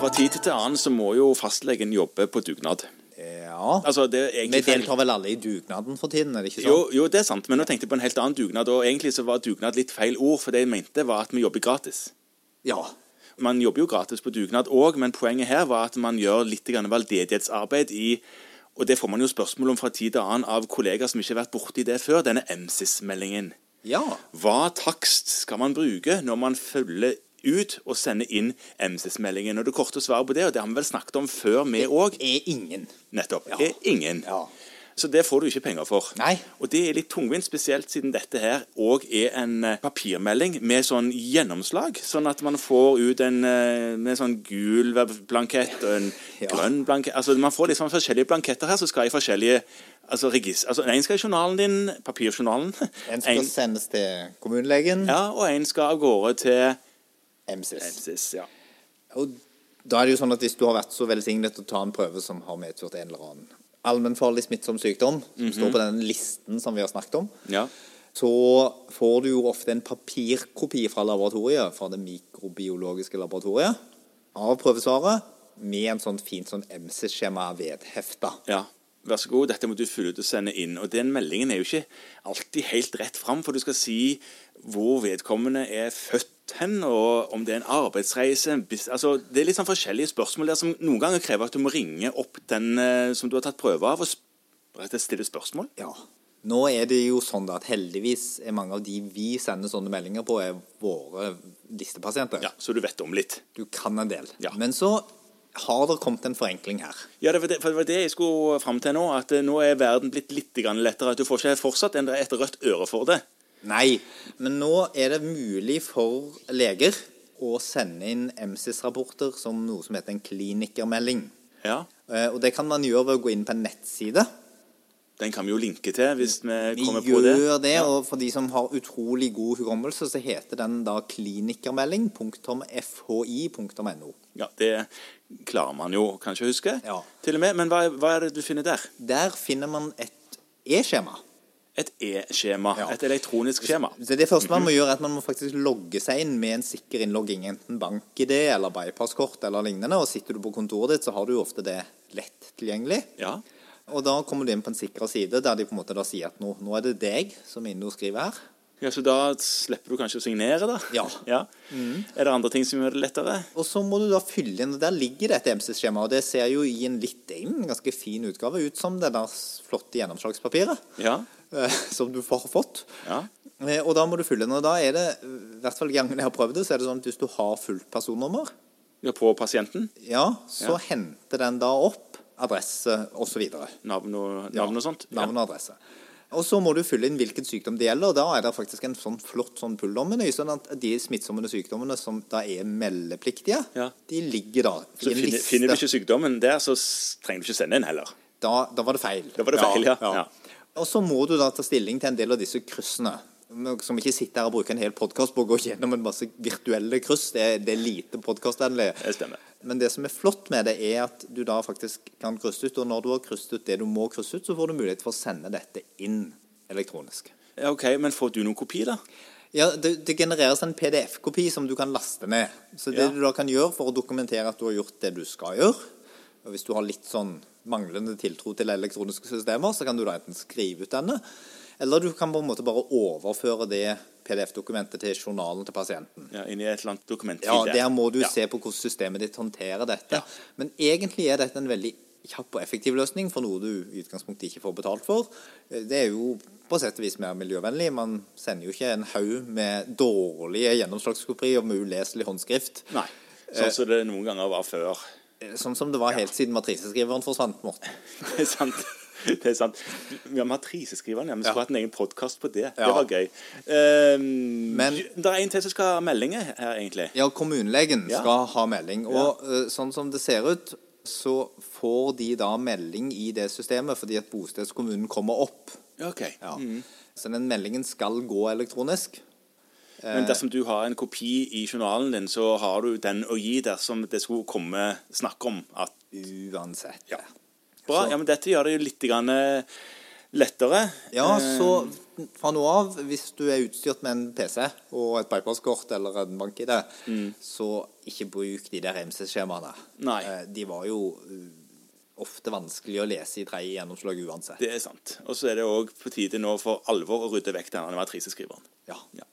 Fra tid til annen så må jo fastlegen jobbe på dugnad. Ja. Altså, det er Vi egentlig feil. deltar vel alle i dugnaden for tiden, er det ikke sånn? Jo, jo, det er sant, men nå tenkte jeg på en helt annen dugnad. Og egentlig så var dugnad litt feil ord, for det jeg mente var at vi jobber gratis. Ja. Man jobber jo gratis på dugnad òg, men poenget her var at man gjør litt grann veldedighetsarbeid i Og det får man jo spørsmål om fra tid til annen av kollegaer som ikke har vært borti det før, denne MSIS-meldingen. Ja. Hva takst skal man bruke når man følger ut og sender inn MSIS-meldingen? Og Det korte svaret på det, og det har vi vel snakket om før, vi òg, Er ingen. nettopp, Ja. er ingen. Ja. Så det får du ikke penger for. Nei. Og det er litt tungvint, spesielt siden dette her òg er en eh, papirmelding med sånn gjennomslag, sånn at man får ut en eh, med sånn gul blankett og en Ja. grønn blankett Altså man får liksom forskjellige blanketter her som skal i forskjellige altså, regis... Altså en skal i journalen din, papirjournalen. En skal sendes til kommunelegen. ja, og en skal av gårde til MCS. MSIS. Ja. Og da er det jo sånn at hvis du har vært så velsignet å ta en prøve som har medført en eller annen allmennfarlig smittsom sykdom, som står på den listen som vi har snakket om, ja. så får du jo ofte en papirkopi fra laboratoriet, fra det mikrobiologiske laboratoriet, av prøvesvaret, med en sånn fint sånn MC-skjema vedhefta. Ja, vær så god, dette må du fylle ut og sende inn. Og den meldingen er jo ikke alltid helt rett fram, for du skal si hvor vedkommende er født hen, og om det er en arbeidsreise en bus- altså, Det er litt sånn forskjellige spørsmål der som noen ganger krever at du må ringe opp den eh, som du har tatt prøve av, og sp rett og slett stille spørsmål. Ja. Nå er det jo sånn da at heldigvis er mange av de vi sender sånne meldinger på, er våre listepasienter. Ja, Så du vet om litt. Du kan en del. Ja. Men så har det kommet en forenkling her. Ja, det var det, for det var det jeg skulle fram til nå, at eh, nå er verden blitt litt grann lettere. At du får ikke fortsatt en- et rødt øre for det. Nei, men nå er det mulig for leger å sende inn MCIS-rapporter som noe som heter en klinikermelding. Ja, Eh, Og det kan man gjøre ved å gå inn på en nettside. Den kan vi jo linke til hvis vi Vi kommer på det. gjør det, og for de som har utrolig god hukommelse, så heter den da klinikermelding.fhi.no. Ja, Det klarer man jo kanskje å huske. Ja. Til og med, Men hva, hva er det du finner der? Der finner man et e-skjema. Et e-skjema. Ja. Et elektronisk skjema. Så Det første man må gjøre, er at man må faktisk logge seg inn med en sikker innlogging. Enten bank-ID eller bypasskort eller lignende. Og sitter du på kontoret ditt, så har du jo ofte det lett tilgjengelig. Ja. Og da kommer du inn på en sikker side der de på en måte da sier at nå, nå er det deg som er inne og skriver her. ja, Så da slipper du kanskje å signere, da? Ja. Er det andre ting som gjør det lettere? Og så må du da fylle inn, og der ligger det et MC-skjema. Og det ser jo i en litt egentlig ganske fin utgave ut som det der flotte gjennomslagspapiret. Ja. eh, Som du har fått. Ja. Eh, Og da må du fylle inn. Og da er det, i hvert fall gangen jeg har prøvd det, så er det sånn at hvis du har fullt personnummer, ja på pasienten? Ja, så Ja. henter den da opp adresse osv. Navn og, navn og sånt? Navn og adresse. Og så må du fylle inn hvilken sykdom det gjelder. og Da er det faktisk en sånn flott sånn pull-dommeny, sånn at de smittsomme sykdommene som da er meldepliktige, Ja. de ligger da i Så en finner, liste. finner du ikke sykdommen der, så s- trenger du ikke sende en heller. da, da var det feil. Da var det feil, ja. Ja. Og så må du da ta stilling til en del av disse kryssene. Som ikke sitter her og bruker en hel podkast på å gå gjennom en masse virtuelle kryss. Det, er- det er lite podkastvennlig. Det stemmer. Men det som er flott med det, er at du da faktisk kan krysse ut. Og når du har krysset ut det du må krysse ut, så får du mulighet for å sende dette inn elektronisk. Ja, ok, Men får du noen kopi, da? Ja, det, det genereres en PDF-kopi som du kan laste ned. Så det Ja. du da kan gjøre for å dokumentere at du har gjort det du skal gjøre og Hvis du har litt sånn manglende tiltro til elektroniske systemer, så kan du da enten skrive ut denne, eller du kan på en måte bare overføre det PDF-dokumentet til journalen til pasienten. Ja, Inni et eller annet dokument? Ja, der må du Ja. se på hvordan systemet ditt håndterer dette. Ja. Men egentlig er dette en veldig kjapp og effektiv løsning for noe du i utgangspunktet ikke får betalt for. Eh, Det er jo på sett og vis mer miljøvennlig. Man sender jo ikke en haug med dårlige gjennomslagskopier med uleselig håndskrift. Nei. Sånn som det noen ganger var før. Eh, Sånn som det var helt siden matriseskriveren forsvant, Morten. Det er sant. Det er sant. Vi har matriseskriveren, ja. Vi skulle Ja. hatt en egen podkast på det. Det Ja. var gøy. Ehm, Men- det er en til som skal ha meldinger her, egentlig. Ja, kommunelegen Ja. skal ha melding. Og eh, sånn som det ser ut, så får de da melding i det systemet fordi at bostedskommunen kommer opp. Ok. Ja. Mm. Så den meldingen skal gå elektronisk. Eh. Men dersom du har en kopi i journalen din, så har du den å gi dersom det skulle komme snakk om at Uansett. Ja. Bra. Ja, men dette gjør det jo litt grann, eh, lettere. Eh, Ja, så fra nå av, hvis du er utstyrt med en PC og et bypasskort eller en bank-ID, Mm. så ikke bruk de der MC-skjemaene. Nei. Eh, De var jo eh, ofte vanskelig å lese i tredje gjennomslag uansett. Det er sant. Og så er det òg på tide nå for alvor å rydde vekk denne matrisekriveren. Ja. Ja.